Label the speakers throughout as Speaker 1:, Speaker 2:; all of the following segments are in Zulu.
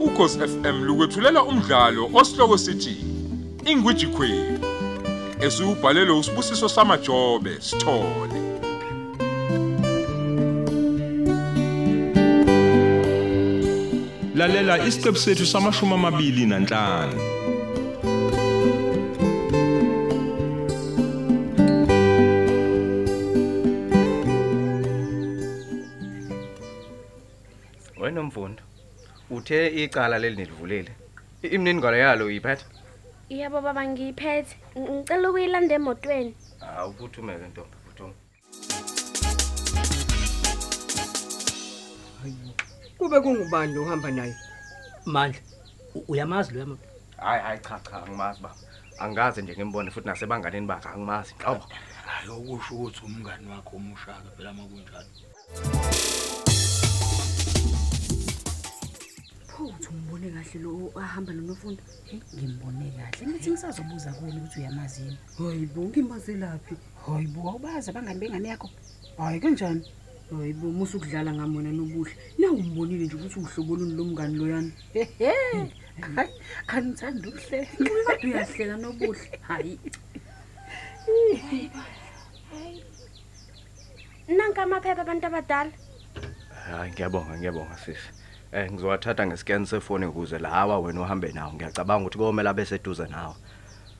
Speaker 1: ukhosi FM lukwethulela umdlalo osihloko sithi Ingwiji Queen. Esiubhalelwe usibusiso samajobe sithole.
Speaker 2: lalela isiqephu sethu samashumi amabili nanhlanu
Speaker 3: wena mfundo uthe icala leli nilivulile I- imniningwane yalo uyiphetha
Speaker 4: Yebo baba ngiyiphethe. Ng- Ngicela ukuyilanda emotweni.
Speaker 3: hawu phuthume-ke ntombi phuthume
Speaker 5: kube kungubani lo uhamba naye
Speaker 6: mandla u- uyamazi loya muntu
Speaker 3: hayi hayi cha cha angimazi baba angazi nje ngimbone futhi nasebanganeni bakhe angimazi nhlobo
Speaker 6: ayokusho ukuthi umngani wakho omushaka phela uma kunjalo
Speaker 7: Futhi umbone kahle lo ahamba nomfundo.
Speaker 8: ngimbone kahle ngithi ngisazobuza kuwena ukuthi uyamazi yini
Speaker 7: Hayi bo ngimaze laphi?
Speaker 8: hayi bo awubazi abangani bengane yakho hayi kanjani
Speaker 7: Hayi bo musukudlala ngamona nobuhle. Na umbonile nje ukuthi uhlobolweni lomngani loyana.
Speaker 8: hehe hayi anithanda ukuhleka
Speaker 7: Kodwa uyahleka nobuhle. Hayi
Speaker 4: Nanka amaphepha abantu abadala.
Speaker 3: hayi ngiyabonga ngiyabonga sisi um ngizowathatha ngesikani sefoni ukuze lawa wena uhambe nawo ngiyacabanga ukuthi komele abe seduze nawe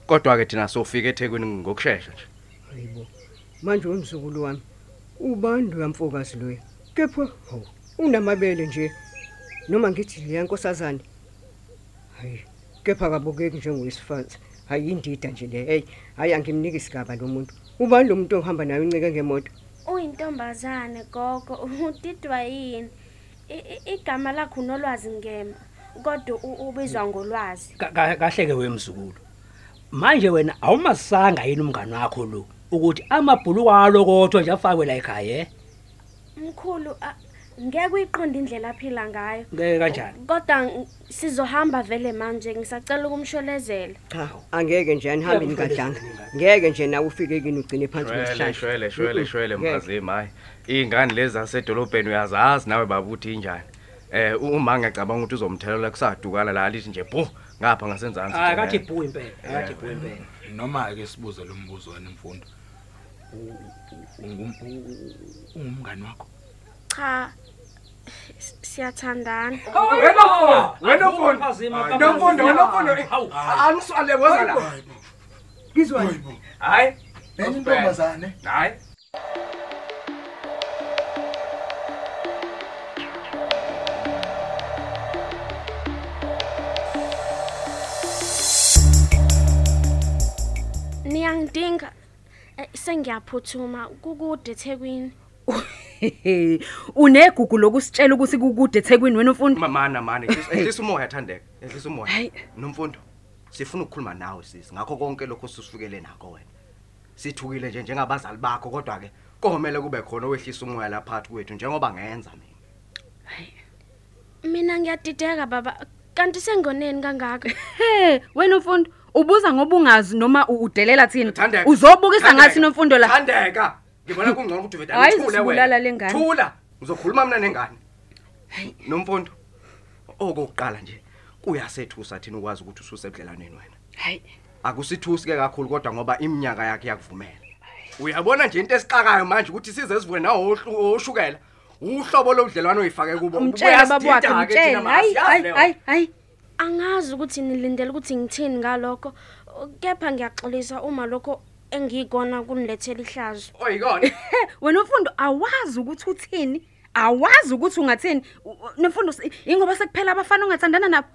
Speaker 3: kodwa-ke thina sofika ethekwini ngokushesha nje
Speaker 5: hayibo manje wemzukulu wami ubani loya mfokazi loya kepha ho unamabele nje noma ngithi leya nkosazane hayi kepha kabukeki njengowesifazi hayi indida nje le hey hayi angimniki isigaba lo muntu ubani lo muntu ohamba naye uncike ngemoto
Speaker 4: Uyintombazane gogo, udidwa yini? I- i- Igama lakho unolwazi ngema. Kodwa u- ubizwa ngolwazi.
Speaker 6: Ka- ka- kahle-ke wemzukulu manje wena awumasanga yini umngani wakho lo ukuthi amabhuluko alo kodwa nje afakwe la ekhaya eh?
Speaker 4: Mkhulu a- ngeke uyiqonde indlela aphila ngayo.
Speaker 6: ngeke kanjani
Speaker 4: Kodwa ng- sizohamba vele manje ngisacela ukumshwelezela.
Speaker 5: cha angeke nje anihambi nikadlanga ngeke nje nawe ufike kini ugcine phansi
Speaker 3: shwele
Speaker 5: kwesihlahla
Speaker 3: shwele shwele shwele
Speaker 5: ngeke.
Speaker 3: mphazimi hayi iy'ngane lezi zasedolobheni uyazazi nawe baba ukuthi injani um uma ngiyacabanga ukuthi uzomthelela kusadukala la lithi nje bhu ngapha ngasenzansi
Speaker 6: hayi
Speaker 3: nje.
Speaker 6: kathi bhu impela akathi bhu impela
Speaker 8: noma-ke sibuze lo mbuzo wena mfundo U- u- ungum- u- u- ungumngani wakho
Speaker 4: Cha s- siyathandana.
Speaker 3: wena mfundo, wena mfundo, wena mfundo, eh, angisale woza la
Speaker 5: ngizwani
Speaker 3: hayi
Speaker 9: Enye intombazane
Speaker 3: hayi
Speaker 4: Niyangidinga. Eh, Sengiyaphuthuma kukude eThekwini.
Speaker 7: Hehe, unegugu lokusitshela ukuthi kukude eThekwini wena mfundo.
Speaker 3: Ma- mana mana ehlisa ehlisa umoya thandeka ehlisa umoya
Speaker 7: Hayi.
Speaker 3: nomfundo sifuna ukukhuluma nawe sisi ngakho konke lokho sisikele nako wena sithukile nje njengabazali bakho kodwa-ke komele kube khona owehlisa umoya laphakathi kwethu njengoba ngenza mina
Speaker 4: Mina ngiyadideka baba. Kanti sengoneni kangaka?
Speaker 7: He, wena mfundo ubuza ngoba ungazi noma u- udelela thina.
Speaker 3: Thandeka.
Speaker 7: Uzobukisa
Speaker 3: Thandeka.
Speaker 7: ngathi nomfundo la.
Speaker 3: Thandeka. Ngibona kungcono ukuthi vele
Speaker 7: Hhayi,
Speaker 3: nithule
Speaker 7: zisibulala le ngane.
Speaker 3: Thula. Uzokhuluma mina nengane. Nomfundo. Okokuqala nje kuyasethusa thina ukwazi ukuthi ususebudlelaneni wena.
Speaker 7: Hayi.
Speaker 3: Akusithusi ke kakhulu kodwa ngoba iminyaka yakhe yakuvumela. Uyabona nje into esixakayo manje ukuthi size sivuke nawo ohlu- oshukela. Uhlobo lobudlelwano oyifake kubo.
Speaker 7: Umtshela baba wakhe
Speaker 3: Buyasidida-ke
Speaker 7: umtshela.
Speaker 3: thina
Speaker 7: Hayi,
Speaker 3: masiyazi
Speaker 7: hayi,
Speaker 3: leyo.
Speaker 7: hayi, hayi.
Speaker 4: Angazi ukuthi nilindele ukuthi ngithini ngalokho. Kepha ngiyaxolisa uma lokho engikona kunilethela ihlazo.
Speaker 3: Oyikona.
Speaker 7: He, wena mfundo awazi ukuthi uthini? Awazi ukuthi ungathini? U- u- Nomfundo si- ingoba sekuphela abafana ongathandana nabo.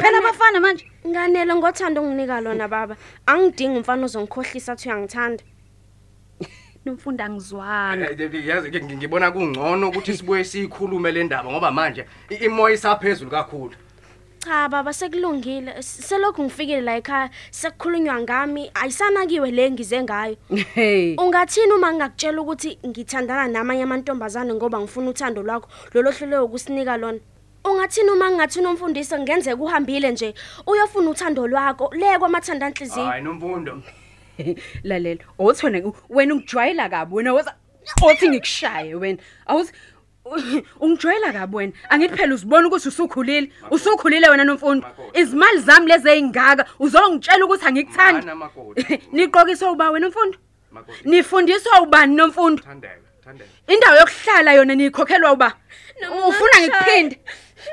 Speaker 7: Phela abafana manje.
Speaker 4: Nganele ngothando onginika lona baba. Angidingi umfana ozongikhohlisa athi uyangithanda.
Speaker 7: Nomfundo angizwanga.
Speaker 3: Eh, eh, yazi ngi- ngibona kungcono ukuthi sibuye siyikhulume le ndaba ngoba manje i- imoya isaphezulu kakhulu
Speaker 4: Cha baba sekulungile. S- Selokhu ngifikile la ekhaya sekukhulunywa ngami. Ayisanakiwe le ngize ngayo.
Speaker 7: Hey.
Speaker 4: Ungathini uma ngingakutshela ukuthi ngithandana namanye amantombazane ngoba ngifuna uthando lwakho lolo hlulwe ukusinika lona? Ungathini uma ngingathini umfundisi ngenzeka uhambile nje uyofuna uthando lwakho le kwamathanda anhliziyo?
Speaker 3: hayi nomfundo
Speaker 7: lalela othona wena ungijwayela kabi wena waza othi ngikushaye wena awuthi Ungijwayela kabi wena. Angithi phela uzibona ukuthi usukhulile. Usukhulile wena nomfundo. Izimali zami lezi ezingaka uzongitshela ukuthi angikuthandi.
Speaker 3: Mana makoti.
Speaker 7: Niqokiswa uba wena nomfundo?
Speaker 3: Makoti.
Speaker 7: Nifundiswa ubani nomfundo?
Speaker 3: Thandeka, thandeka.
Speaker 7: Indawo yokuhlala yona niyikhokhelwa uba. Ufuna ngikuphinde?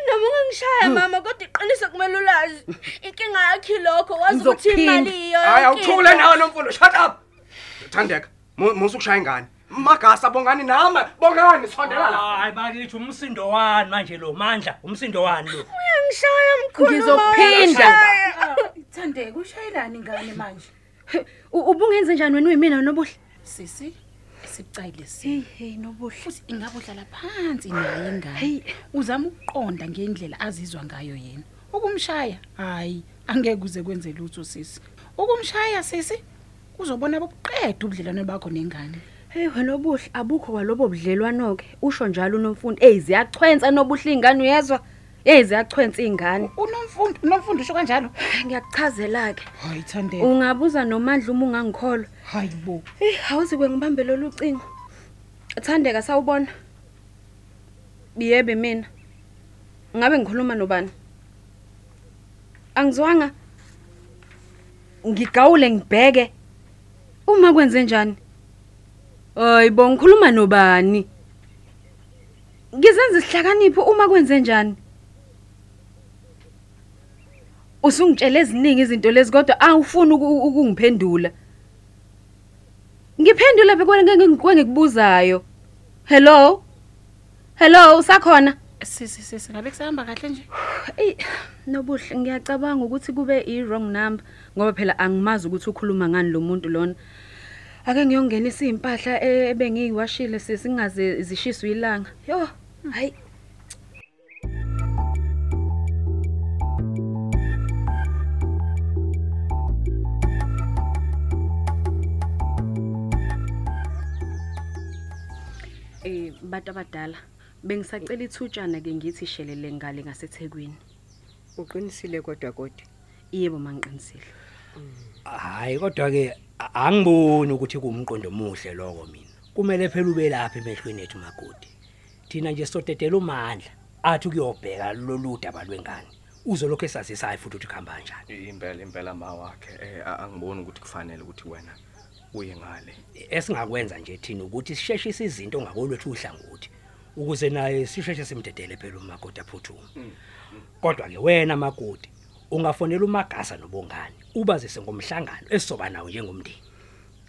Speaker 4: Noma ungangishaya mama kodwa iqiniso kumele ulazi. Inkinga yakhe lokho wazi ukuthi
Speaker 7: Ngizokuphinda.
Speaker 4: imali iyo.
Speaker 3: Hayi
Speaker 4: yonke into.
Speaker 3: awuthule nawe nomfundo, shut up. Thandeka, mu- musu kushaya ingane. Magasa bongani nami, bongani sondela la.
Speaker 6: hayi bakithi umsindo wani manje lo mandla umsindo wani lo
Speaker 4: Ngishaya mkhulu.
Speaker 7: Ngizokuphinda.
Speaker 9: Thandeka ushayelani ngane manje?
Speaker 7: U- Ubungenze njani wena uyimina nobuhle?
Speaker 9: Sisi sibucayile si.
Speaker 7: Hey hey nobuhle.
Speaker 9: Futhi ingabe udlala phansi naye
Speaker 7: Hey.
Speaker 9: ingane. Uzama ukuqonda ngendlela azizwa ngayo yena. Ukumshaya? Hayi, angeke kuze kwenze lutho sisi. Ukumshaya sisi uzobona bokuqeda ubudlelwane bakho nengane.
Speaker 7: Hey wena obuhle abukho kwalobo budlelwano ke usho njalo unomfundo hey ziyachwensa nobuhle ingane uyezwa hey ziyachwensa ingane
Speaker 9: Unomfundo, unomfundo usho kanjalo.
Speaker 7: ngiyakuchazela ke
Speaker 9: Hayi Thandeka.
Speaker 7: ungabuza nomandla uma ungangikholwa
Speaker 9: Hayi bo.
Speaker 7: hey awuzi kwengibambe lolu cingo Thandeka sawubona Yebe mina Ngabe ngikhuluma nobani Angizwanga ngigawule ngibheke uma kwenze njani Hayibo ngikhuluma nobani Ngizenza isihlakanipho uma kwenze njani Usungitshela eziningi izinto lezi kodwa awufuni uku- uku- ukungiphendula Ngiphendula bekwengikubuzayo Hello Hello usakhona
Speaker 9: Sisi sisi ngabe kusahamba kahle nje?
Speaker 7: Ey, nobuhle ngiyacabanga ukuthi kube i-wrong number ngoba phela angimazi ukuthi ukhuluma ngani lo muntu lona. Ake ngiyongenisa izimpahla e- ebengiyiwashile sesingaze zishiswe ilanga. Yo, hayi Eh bantu abadala bengisacela ithutshana ke ngithi shelele ngale ngaseThekwini.
Speaker 5: uqinisile kodwa kodwa
Speaker 7: Yebo mangiqinisile.
Speaker 6: hayi kodwa ke angiboni ukuthi kuumqondo omuhle lokho mina kumele phela ube lapha emehlweni ethu magodi thina nje sotetela umandla athi kuyobheka lolu daba lwengane uzolokho esazisayo futhi ukuthi kuhamba kanjani
Speaker 3: impela impela ma wakhe eh, a- angiboni ukuthi kufanele ukuthi wena uye ngale
Speaker 6: esingakwenza nje thina ukuthi sisheshise izinto ngakolwethu uhlangothi ukuze naye sisheshe simdedele phela umakoti aphuthuma kodwa ke wena makoti ungafonela umagasa nobongani ubazise ngomhlangano esizoba nawo njengomndeni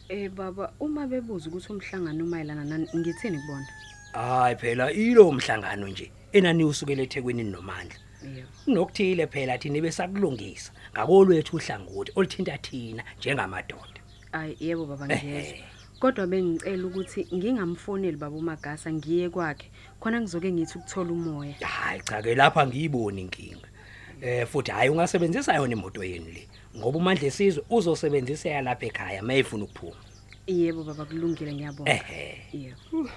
Speaker 7: Eh baba uma bebuza ukuthi umhlangano umayelana nani ngithini kubona?
Speaker 6: hayi phela ilo mhlangano nje enani usukele eThekwini nomandla
Speaker 7: Yebo.
Speaker 6: nokuthile phela thina besakulungisa ngakolwethu uhlangothi olithinta thina njengamadoda
Speaker 7: Ay yebo baba ngiyezwa. Kodwa bengicela ukuthi ngingamfoneli baba uMagasa ngiye kwakhe khona ngizoke ngithi ukuthola umoya.
Speaker 6: hayi cha ke lapha ngiyiboni inkinga eh futhi hayi ungasebenzisa yona imoto yenu le ngoba umandla esizwe uzosebenzisa yalapha ekhaya mayifuna ukuphuma
Speaker 7: Yebo baba kulungile ngiyabonga.
Speaker 6: ehe
Speaker 7: Yebo.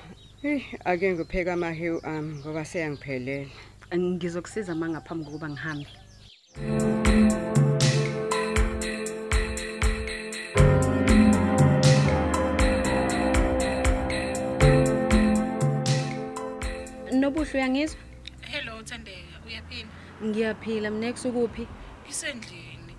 Speaker 5: hey ake ngipheka amahewu ami ngoba seyangiphelele
Speaker 7: Ngizokusiza mangaphambi kokuba ngihambe. Nobuhle uyangizwa?
Speaker 9: Hello Thandeka, uyaphila?
Speaker 7: Ngiyaphila mina kusukuphi?
Speaker 9: Isendlini.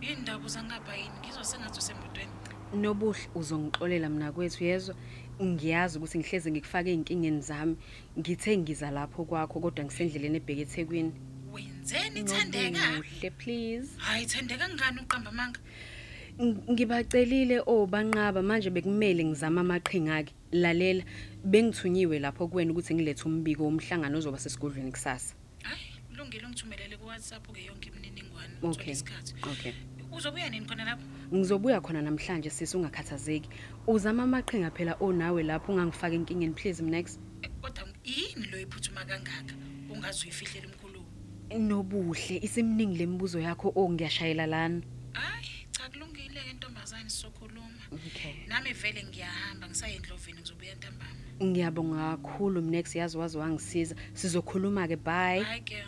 Speaker 9: Indaba zangapha yini? Ngizwa sengathi usemotweni.
Speaker 7: Nobuhle uzongixolela mina kwethu yezwa ngiyazi ukuthi ngihleze ngikufake izinkingeni zami ngithe ngiza lapho kwakho kodwa ngisendleleni ebheke eThekwini
Speaker 9: Wenzeni Thandeka?
Speaker 7: Nobuhle please
Speaker 9: Hayi Thandeka ngani uqamba manga?
Speaker 7: Ng- ngibacelile obanqaba manje bekumele ngizama amaqhinga ake lalela bengithunyiwe lapho kuwena ukuthi ngilethe umbiko womhlangano ozoba sesigodlweni kusasa
Speaker 9: Hayi, kulungile ungithumelele kuWhatsApp ke yonke imininingwane
Speaker 7: Okay.
Speaker 9: isikhathi.
Speaker 7: okay
Speaker 9: Uzobuya nini khona lapho?
Speaker 7: ngizobuya khona namhlanje sisi ungakhathazeki uzama amaqhinga phela onawe lapho ungangifaka enkingeni please mnex
Speaker 9: Eh, Kodwa yini lo iphuthuma kangaka? Ungaze uyifihlela umkhulu.
Speaker 7: nobuhle isimningi lemibuzo yakho ongiyashayela lana
Speaker 9: Hayi, cha kulungile ke ntombazane sizokhuluma.
Speaker 7: okay
Speaker 9: Nami vele ngiyahamba ngisayendloveni ngizobuya ntambama.
Speaker 7: ngiyabonga kakhulu mnex yazi wazi wangisiza sizokhuluma ke bye
Speaker 9: Hayi ke.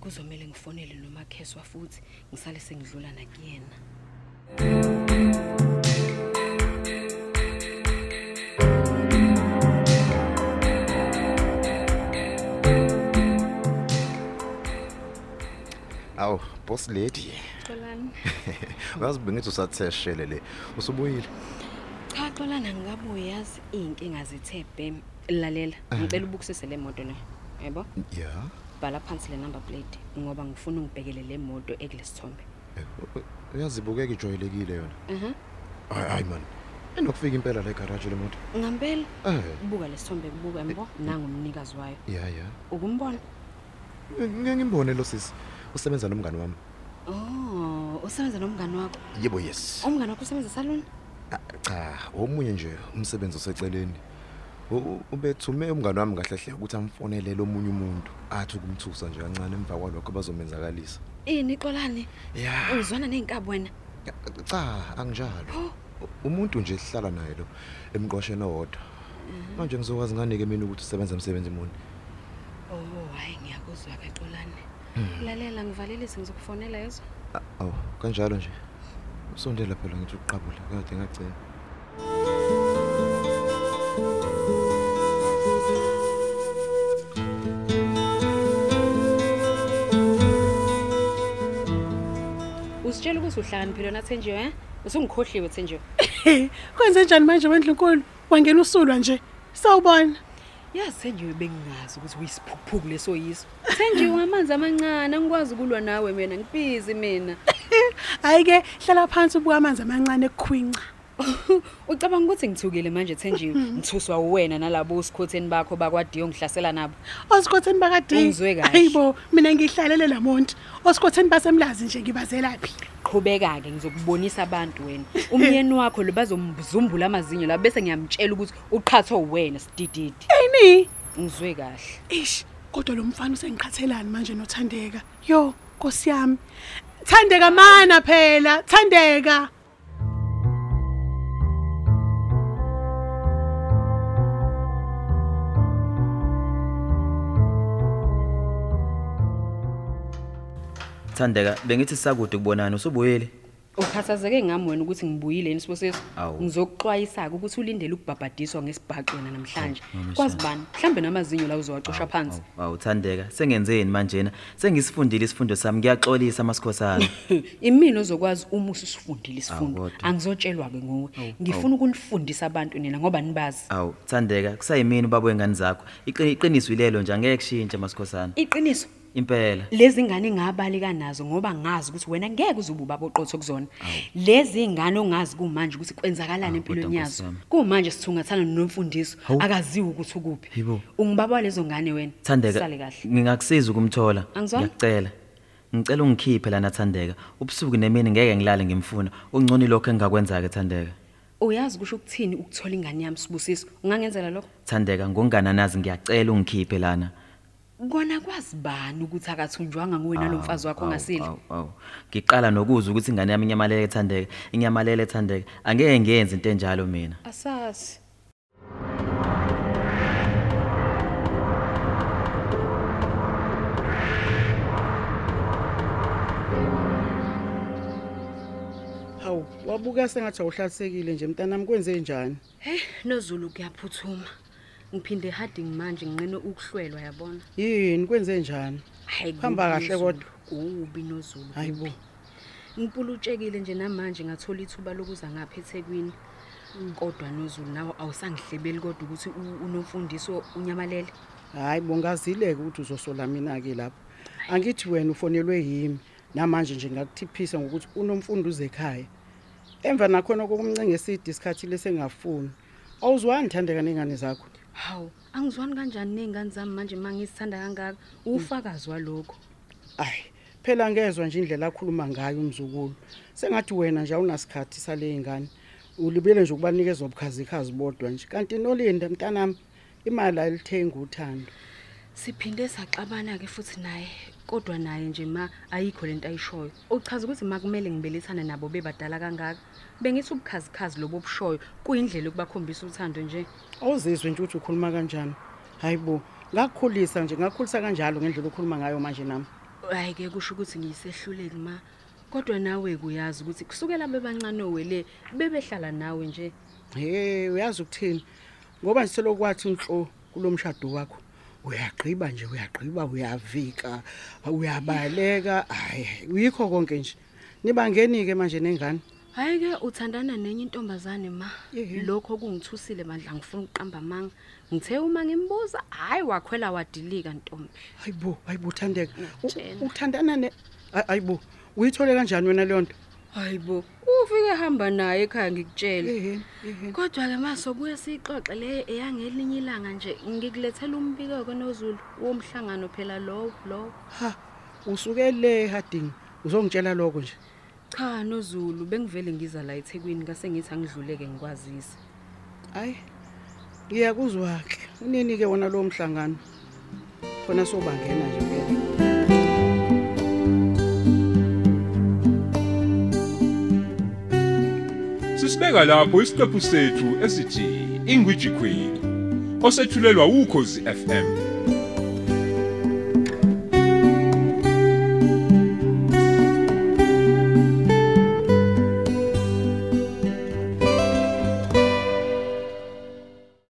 Speaker 7: kuzomela ngifonele noma kheswa futhi ngisale sengidlula nakuyena
Speaker 10: aw boss lady
Speaker 7: Xolani.
Speaker 10: uyazibingithi usatheshele le usubuyile
Speaker 7: Cha Xolani angikabuye yazi izinkinga zithe bhem. Lalela, ngicela ubukisise le moto le. Yebo?
Speaker 10: ya
Speaker 7: Bhala phansi le number plate ngoba ngifuna ungibhekele le moto ekulesithombe.
Speaker 10: uyazibukeka ijwayelekile yona
Speaker 7: Mhm.
Speaker 10: hayi hayi man enokufika impela la egarage lemoto
Speaker 7: Ngambele
Speaker 10: eh
Speaker 7: buka lesithombe kubuka embo nangu umnikazi wayo.
Speaker 10: ya ya
Speaker 7: Ukumbona?
Speaker 10: Eh, ngeke ngimbone lo sisi usebenza nomngane wami
Speaker 7: Oh, usebenza nomngani wakho.
Speaker 10: yebo yes
Speaker 7: Umngani wakho usebenza salon?
Speaker 10: Ah, cha omunye nje umsebenzi oseceleni U- u- ubethume umngane wami kahlehle ukuthi amfonele lo munye umuntu athi ukumthusa nje kancane emva kwalokho bazomenzakalisa
Speaker 7: Ini Xolani?
Speaker 10: ya
Speaker 7: Uzwana neinkabi wena?
Speaker 10: cha anginjalo U- umuntu nje sihlala naye lo emqosheni owodwa manje ngizokwazi ngani ke mina ukuthi usebenza umsebenzi muni
Speaker 7: Oh, hayi ngiyakuzwa ke Xolani. Lalela ngivalelise ngizokufonela yezo.
Speaker 10: Ah, awu kanjalo nje usondela phela ngithi uqabula kade ngagcina
Speaker 7: Usitshela ukuthi uhlakaniphile na Thenjiwe, eh? Usungikhohliwe Thenjiwe.
Speaker 9: Kwenze njani manje wendlunkulu? Wangena usulwa nje. Sawubona.
Speaker 7: Yazi Thenjiwe bengingazi ukuthi uyisiphuphuku leso yiso. Thenjiwe ngamanzi amancane, angikwazi ukulwa nawe mina, ngibhizi mina.
Speaker 9: Hayi ke hlala phansi ubuka amanzi amancane ekukhwinca.
Speaker 7: Ucabanga ukuthi ngithukile manje Thenjiwe, ngithuswa uwena nalabo usikhotheni bakho bakwadiyo ngihlasela nabo.
Speaker 9: Osikhotheni bakade.
Speaker 7: Ungizwe kahle.
Speaker 9: Hayibo, mina ngihlalele lamuntu. Osikhotheni basemlazi nje ngibazelaphi.
Speaker 7: Qhubeka ke ngizokubonisa abantu wena. Umyeni wakho lo bazomzumbula amazinyo la bese ngiyamtshela ukuthi uqhathwe uwena sidididi.
Speaker 9: Eni?
Speaker 7: Ngizwe kahle.
Speaker 9: Ish, kodwa lo mfana usengiqhathelani manje nothandeka. Yo, Nkosi yami. Thandeka mana phela, thandeka.
Speaker 6: Thandeka, bengithi sakude kubonana usubuyile.
Speaker 7: Ukhathazeke ngami wena ukuthi ngibuyile yini Sibusiso?
Speaker 6: Awu.
Speaker 7: Ngizokuxwayisa ukuthi ulindele ukubhabhadiswa ngesibhaxo wena namhlanje.
Speaker 6: Awu, mama
Speaker 7: Kwazi
Speaker 6: Shaka.
Speaker 7: bani? Mhlambe namazinyo la uzowacosha phansi.
Speaker 6: Awu Thandeka, sengenzeni manje na? Sengisifundile isifundo sami, ngiyaxolisa masikhosana.
Speaker 7: Imini ozokwazi uma ususifundile isifundo.
Speaker 6: Ah, kodwa. Oh,
Speaker 7: Angizotshelwa ke nguwe. Ngifuna ukunifundisa abantu nina ngoba nibazi.
Speaker 6: Awu Thandeka, kusayimini babo engane zakho. Iqini- Iqiniso ilelo nje angeke kushintshe masikhosana.
Speaker 7: Iqiniso
Speaker 6: Impela.
Speaker 7: lezi ngane ngabali kanazo ngoba ngazi ukuthi wena ngeke uze ububa boqotho kuzona lezi ngane ongazi kumanje ukuthi kwenzakalani
Speaker 6: Ah,
Speaker 7: empilweni
Speaker 6: kodwa
Speaker 7: yazo
Speaker 6: Nkosi yami.
Speaker 7: kumanje sithungathana nomfundiso
Speaker 6: Hawu.
Speaker 7: akaziwa ukuthi ukuphi
Speaker 6: Yebo.
Speaker 7: ungibaba lezo ngane wena
Speaker 6: Thandeka,
Speaker 7: sale kahle
Speaker 6: ngingakusiza ukumthola.
Speaker 7: Angizwa?
Speaker 6: Ngiyacela. Ngicela ungikhiphe lana Thandeka. Ubusuku nemini ngeke ngilale ngimfuna. Ungcono lokho engingakwenza ke Thandeka.
Speaker 7: uyazi kusho ukuthini ukuthola ingane yami sibusiso ungangenzela lokho
Speaker 6: Thandeka, ngongananazi ngiyacela ungikhiphe lana.
Speaker 7: kona kwazi bani ukuthi akathunjwanga nguwe nalo
Speaker 6: Awu,
Speaker 7: mfazi wakho
Speaker 6: Ah, awu,
Speaker 7: ongasile
Speaker 6: awu, awu. Ngiqala nokuza ukuthi ingane yami inyamalele ethandeka, inyamalele ethandeka. Angeke ngiyenze into enjalo mina.
Speaker 7: asazi
Speaker 5: Hawu, wabuka sengathi awuhlasekile nje mntanami kwenze njani?
Speaker 7: hey nozulu kuyaphuthuma ngiphinde harding manje nginqene ukuhlwelwa yabona
Speaker 5: Yini kwenze njani?
Speaker 7: Hayi,
Speaker 5: Kuhamba
Speaker 7: kubi
Speaker 5: kahle
Speaker 7: uZulu,
Speaker 5: kodwa.
Speaker 7: kubi nozulu
Speaker 5: Hayibo.
Speaker 7: ngipulutshekile nje namanje ngathola ithuba lokuza ngapha eThekwini kodwa nozulu nawo awusangihlebeli kodwa ukuthi u- unomfundiso unyamalele
Speaker 5: Hayi bongazileke ukuthi uzosola mina ke lapho. Angithi wena ufonelwe yimi. Namanje nje ngakuthiphisa ngokuthi unomfundo uzekhaya. Emva nakhona kokumncengesa idiskhathi lesengafuni. Awuzwani thandeka nengane zakho.
Speaker 7: hawu angizwani kanjani nezingane zami manje mangizithanda kangaka ufakazi walokho
Speaker 5: Ayi, phela ngezwe nje indlela akhuluma ngayo umzukulu. Sengathi wena nje awunasikhathi sale ingane. Ulibele nje ukubanikeza obukhazikhazi bodwa nje. Kanti nolinda mntanami imali ayilithenga uthando.
Speaker 7: siphinde saxabana ke futhi naye kodwa naye nje ma ayikho lento ayishoyo uchaza ukuthi makumele ngibelethane nabo bebadala kangaka bengithi ubukhazikhazi lobo obushoyo kuyindlela yokubakhombisa uthando nje
Speaker 5: awuzizwe nje ukuthi ukhuluma kanjani hayi bo ngakukhulisa nje ngakukhulisa kanjalo ngendlela okhuluma ngayo manje nami
Speaker 7: hayi ke kusho ukuthi ngiyisehluleki ma kodwa nawe kuyazi ukuthi kusukela bebancane wele bebehlala nawe nje
Speaker 5: he uyazi ukuthini ngoba nje selokwathi nhlo kulo mshado wakho
Speaker 9: uyagqiba nje uyagqiba uyavika uyabaleka hayi uyikho konke nje nibangeni ke manje nengane
Speaker 7: Hayi ke uthandana nenye intombazane ma. Lokho kungithusile bandla ngifuna uqamba manga. Ngithe uma ngimbuza, hayi wakhwela wadilika ntombi.
Speaker 9: hayibo hayibo uthandeka U- uthandana ne hayi- hayibo uyithole kanjani wena leyo nto
Speaker 7: Hayibo, ufike hamba naye ekhaya ngikutshela. Kodwa ke maso kuye sixoxe le eyangelinye ilanga nje ngikulethela umbiko koNozulu womhlangano phela lowo lowo.
Speaker 9: ha usuke le hading uzongitshela lokho nje
Speaker 7: Cha noZulu bengivele ngiza la eThekwini ngase ngithi angidluleke ngikwazise.
Speaker 9: hayi ngiyakuzwa ke unini ke wona lowo mhlangano khona sobangena nje vele
Speaker 1: Sisibeka lapho isiqephu sethu esithi Ingwiji Queen osethulelwa ukhozi FM.